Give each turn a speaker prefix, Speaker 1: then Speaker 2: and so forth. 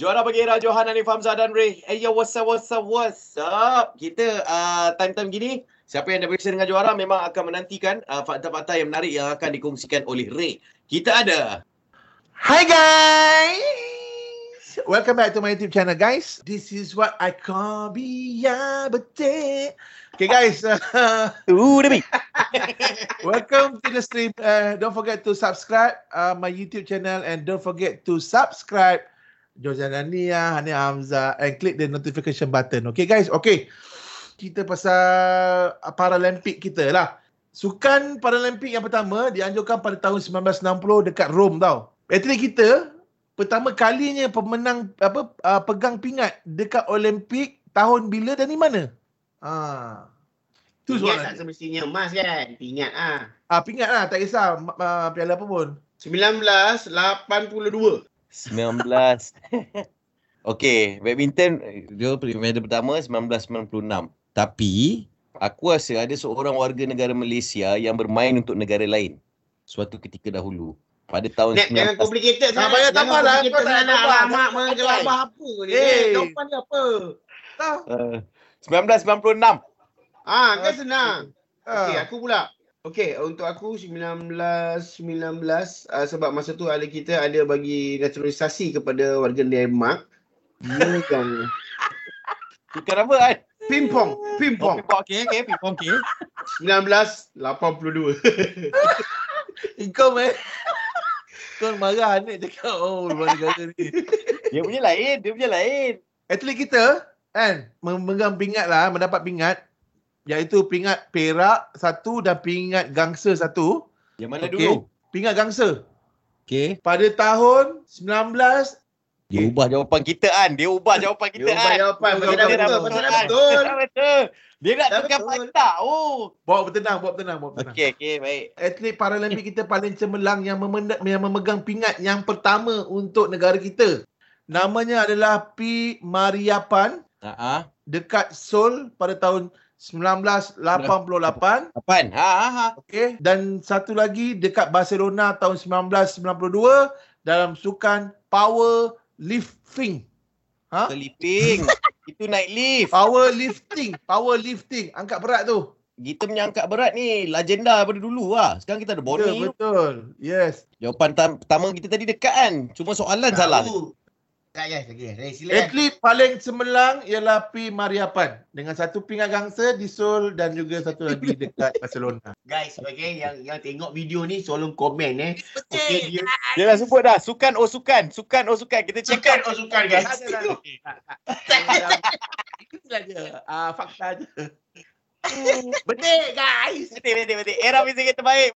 Speaker 1: Johanna Bagheera, Johan Hanif Hamzah dan Ray. Hey, yo, what's up, what's up, what's up? Kita uh, time-time gini, siapa yang dah bersama dengan juara memang akan menantikan uh, fakta-fakta yang menarik yang akan dikongsikan oleh Ray. Kita ada.
Speaker 2: Hi guys! Welcome back to my YouTube channel guys. This is what I call Biyabete. Okay guys, uh,
Speaker 3: Ooh, demi.
Speaker 2: welcome to the stream. Uh, don't forget to subscribe uh, my YouTube channel and don't forget to subscribe Jozanania, Hani Hamzah and click the notification button. Okay guys, okay. Kita pasal uh, Paralympic kita lah. Sukan Paralympic yang pertama dianjurkan pada tahun 1960 dekat Rome tau. Atlet kita pertama kalinya pemenang apa uh, pegang pingat dekat Olimpik tahun bila dan di mana? Ha. Tu
Speaker 4: Pingat tak
Speaker 2: soalan.
Speaker 4: semestinya emas kan? Pingat ah.
Speaker 2: Ah pingat lah tak kisah uh, piala apa pun.
Speaker 3: 19.
Speaker 4: 1982.
Speaker 3: Okey, badminton eh, dia medal pertama 1996. Tapi aku rasa ada seorang warga negara Malaysia yang bermain untuk negara lain suatu ketika dahulu pada tahun
Speaker 4: Nek, jangan
Speaker 3: 19
Speaker 4: complicated
Speaker 2: Tak payah tambah lah. Kau tak nak tambah.
Speaker 4: Alamak, menggelabah apa ni?
Speaker 2: Eh.
Speaker 4: Eh, jawapan dia apa?
Speaker 2: Tahu.
Speaker 1: eh,
Speaker 3: uh, 1996.
Speaker 4: Ah, kan senang. Okey,
Speaker 2: Ah.
Speaker 4: aku pula. Okey, untuk aku 19 19 uh, sebab masa tu ada kita ada bagi naturalisasi kepada warga Denmark. Dia yang
Speaker 3: Bukan apa
Speaker 1: eh?
Speaker 3: kan?
Speaker 4: Pimpong, pimpong.
Speaker 1: okey, okey, pingpong okey.
Speaker 4: 1982.
Speaker 2: Kau meh. Kau marah anak cakap oh luar negara ni.
Speaker 3: Dia punya lain, dia punya lain.
Speaker 2: Atlet kita kan memegang pingat lah mendapat pingat iaitu pingat perak satu dan pingat gangsa satu.
Speaker 3: Yang mana
Speaker 2: Okey.
Speaker 3: dulu?
Speaker 2: Pingat gangsa
Speaker 3: Okey.
Speaker 2: pada tahun 19
Speaker 3: Dia ubah jawapan kita kan. Dia ubah jawapan
Speaker 4: Dia
Speaker 3: kita
Speaker 4: ubah
Speaker 3: kan.
Speaker 4: jawapan. Pasal
Speaker 2: Dia dah
Speaker 4: dah betul,
Speaker 2: betul.
Speaker 4: pasal dah betul.
Speaker 3: Dah betul. Dia nak
Speaker 4: Dah
Speaker 3: tukar
Speaker 4: betul.
Speaker 3: fakta. Oh.
Speaker 2: bawa bertenang bawa bertenang bawa bertenang.
Speaker 3: Okey, okey, baik.
Speaker 2: Atlet Paralimpik kita paling cemerlang yang, memenda- yang memegang pingat yang pertama untuk negara kita. Namanya adalah P. Mariapan
Speaker 3: Ha ah.
Speaker 2: dekat Seoul pada tahun 1988.
Speaker 3: Apaan? Ha ha ha.
Speaker 2: Okey, dan satu lagi dekat Barcelona tahun 1992 dalam sukan power lifting. Ha?
Speaker 3: Keliping. Itu naik lift.
Speaker 2: Power lifting, power lifting, angkat berat tu.
Speaker 3: Kita punya angkat berat ni legenda daripada dulu lah. Sekarang kita ada
Speaker 2: Betul,
Speaker 3: Bonnie.
Speaker 2: betul. Yes.
Speaker 3: Jawapan tam- pertama kita tadi dekat kan. Cuma soalan salah.
Speaker 4: Tahu. Tak payah lagi. Ray, silakan.
Speaker 2: Atlet paling cemerlang ialah P Mariapan dengan satu pingat gangsa di Seoul dan juga satu lagi dekat Barcelona.
Speaker 4: Guys, sebagai yang yang tengok video ni tolong komen eh. Okey, dia
Speaker 3: Dia dah sebut dah. Sukan oh sukan. Sukan oh sukan. Kita check
Speaker 4: sukan oh sukan guys.
Speaker 2: Itulah dia. Ah fakta je.
Speaker 4: Betul guys.
Speaker 3: Betul, betul, betul. Era muzik yang terbaik.